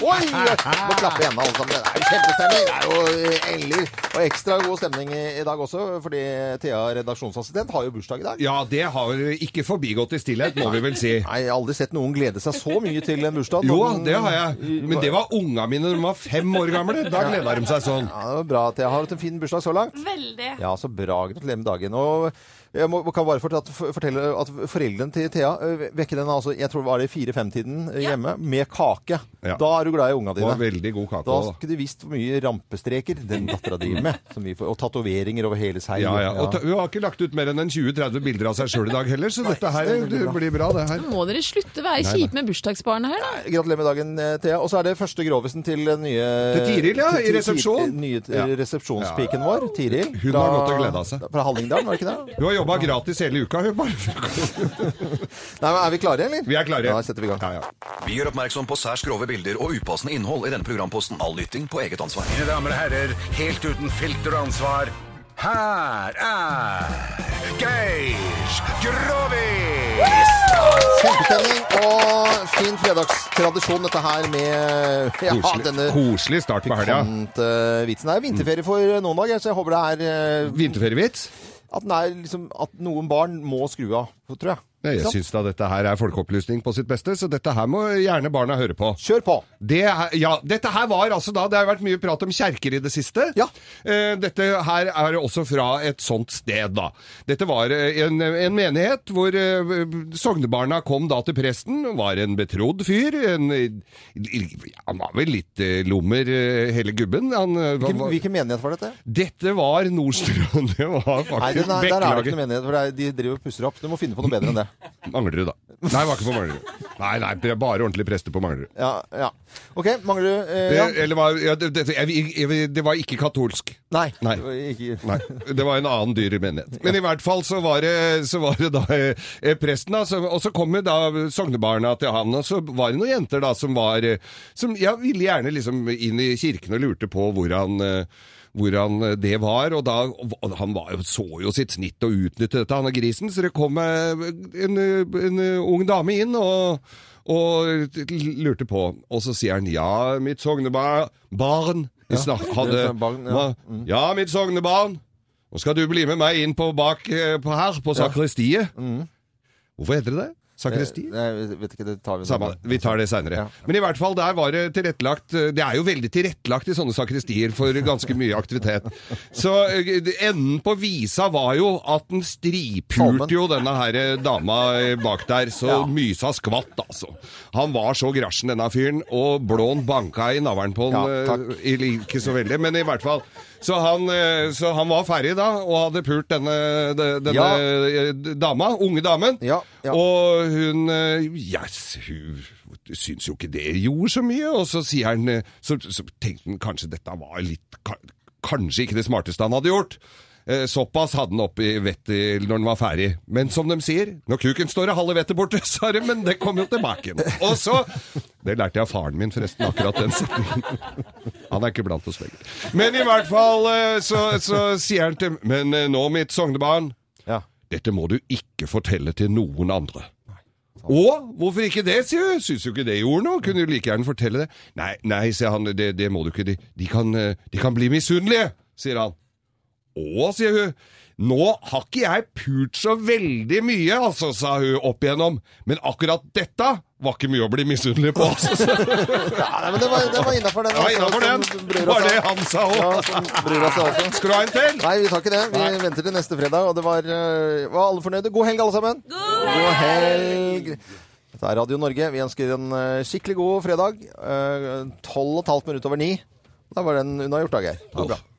Oi! Må klappe hjemme, alle sammen. Det er jo kjempestemning. Det er jo eh, endelig og ekstra god stemning i, i dag også, fordi Thea, redaksjonsassistent, har jo bursdag i dag. Ja, det har ikke forbigått i stillhet, må vi vel si. Nei, jeg har aldri sett noen glede seg så mye til en bursdag. Jo, Den- det har jeg. Men det var unga mine når de var fem år gamle. Da gleda de seg sånn. Ja, det var bra at jeg har hatt en fin bursdag så langt. Veldig. Ja, så bra. Gratulerer med dagen. Og jeg må, kan bare fortelle, fortelle at foreldrene til Thea ø, vekker henne altså, jeg tror det var det i fire-fem-tiden ø, Ja. hjemme, med kake. Ja. Da er du glad i unga Det dine. var veldig god kake. Da også, da. skulle du visst hvor mye rampestreker den dattera driver med. Som vi får, og tatoveringer over hele seg. Ja, ja. Og ta- hun har ikke lagt ut mer enn en 20-30 bilder av seg sjøl i dag heller, så dette her det blir bra, det her. Må dere slutte å være kjipe med bursdagsbarnet her, da? Gratulerer med dagen, eh, Thea. Og så er det første grovisen til den nye Til Tiril, ja, til- i til- resepsjon. Nye t- Ja. resepsjonspiken vår, Tiril. Hun har fra- godt å glede seg. Fra Hallingdal, var det ikke det? Hun har jobba gratis hele uka, hun bare. Nei, men Er vi klare, eller? Vi er klare. Da setter vi i gang. Ja, ja. Vi gjør oppmerksom på særs grove bilder og upassende innhold i denne programposten. All lytting på eget ansvar. Mine damer og herrer, helt uten filter og ansvar, her er Geir Grovis! Kjempestemning og fin fredagstradisjon, dette her med ja, denne Koselig, koselig start på helga. pikante vitsen. Det er vinterferie for eh, noen dager, så jeg håper det er eh, Vinterferievits? at, den er liksom, at noen barn må skru av, tror jeg. Ja, Jeg Sant? syns da dette her er folkeopplysning på sitt beste, så dette her må gjerne barna høre på. Kjør på! Det, her- ja, dette her var altså da Det har vært mye prat om kjerker i det siste. Ja. Eh, dette her er også fra et sånt sted, da. Dette var eh, en, en menighet hvor eh, sognebarna kom da til presten. Var en betrodd fyr. En, han var vel litt eh, lommer, eh, hele gubben. Han, eh, var- Hvilken, hvilken menighet var dette? Dette var Nordstrand. Det var faktisk Nei, den er, der er det ikke Bekkelaget. noe menighet, for det er, de driver og pusser opp. Du må finne på noe bedre enn det. Manglerud, da. Nei, det var ikke på Manglerud. Nei, nei, det er bare ordentlige prester på Manglerud. Ja, ja. OK, mangler du eh, ja. Eh, Eller var, ja, det, det, jeg, jeg, det var ikke katolsk. Nei. Nei. Ikke. Nei, det var en annen dyr menighet. Men i hvert fall så var det, så var det da eh, presten, da, så, og så kom jo da sognebarna til han, og så var det noen jenter da som var eh, Som ja, ville gjerne liksom inn i kirken og lurte på hvordan eh, hvordan det var, og da og Han var, jo- så jo sitt snitt og utnyttet dette, han og grisen, så det kom eh, en, eh, en eh, ung dame inn og, og lurte på. Og så sier han 'ja, mitt sognebarn'. Barn. Vi snak- hadde, sånn Barn, ja. Mm. hva- ja, mitt sognebarn. Nå skal du bli med meg inn på bak eh, på her, på sakristiet. Mm. Hvorfor heter det det? Sakristiet? Nei, jeg vet ikke, det tar vi Samme, vi tar det seinere. Ja. Men i hvert fall, der var det tilrettelagt eh, Det er jo veldig tilrettelagt i sånne sakristier for ganske mye aktivitet. Så eh, enden på visa var jo at den Salmen. stripulte jo denne her eh, dama eh, bak der, så Ja. mysa skvatt, altså. Han var så grasjen, denne fyren, og blån banka i navlen på han. Ja, eh, takk. i- Ikke så veldig, men i hvert fall. Så han, eh, så han var ferdig da, og hadde pult denne, de- denne Ja. eh, dama, unge damen. Ja, ja. Og hun eh, yes, Hun syns jo ikke det gjorde så mye. Og så sier han eh, Så, så tenkte han kanskje dette var litt ka- Kanskje ikke det smarteste han hadde gjort. Eh, Såpass hadde han oppi vettet når han var ferdig. Men som de sier, når kuken står og halve vettet borte, sa de, men det kom jo tilbake igjen. Og så Det lærte jeg av faren min, forresten, akkurat den setningen. Han er ikke blant oss lenger. Men i hvert fall eh, så, så sier han til Men eh, nå, mitt sognebarn, Ja. dette må du ikke fortelle til noen andre. Og hvorfor ikke det, sier hun. Syns jo ikke det gjorde noe. Kunne jo like gjerne fortelle det. Nei, nei, sier han, det, det må du ikke. De, de, kan, eh, de kan bli misunnelige, sier han. Å, sier hun. Nå har ikke jeg pult så veldig mye, altså, sa hun opp igjennom. Men akkurat dette var ikke mye å bli misunnelig på. Altså. Nei, men det var, det var innafor den. altså. Det var innafor den. som bryr oss Var det om- han sa Ja, òg. som bryr oss om også. Skal du ha en til? Nei, vi tar ikke det. Vi Nei. venter til neste fredag. Og det var, eh, var alle fornøyde. God helg, alle sammen. God helg! Dette er Radio Norge. Vi ønsker en eh, skikkelig god fredag. Eh, Tolv og et halvt minutt over ni. Da var den unnagjort, Dag her. Ha det bra.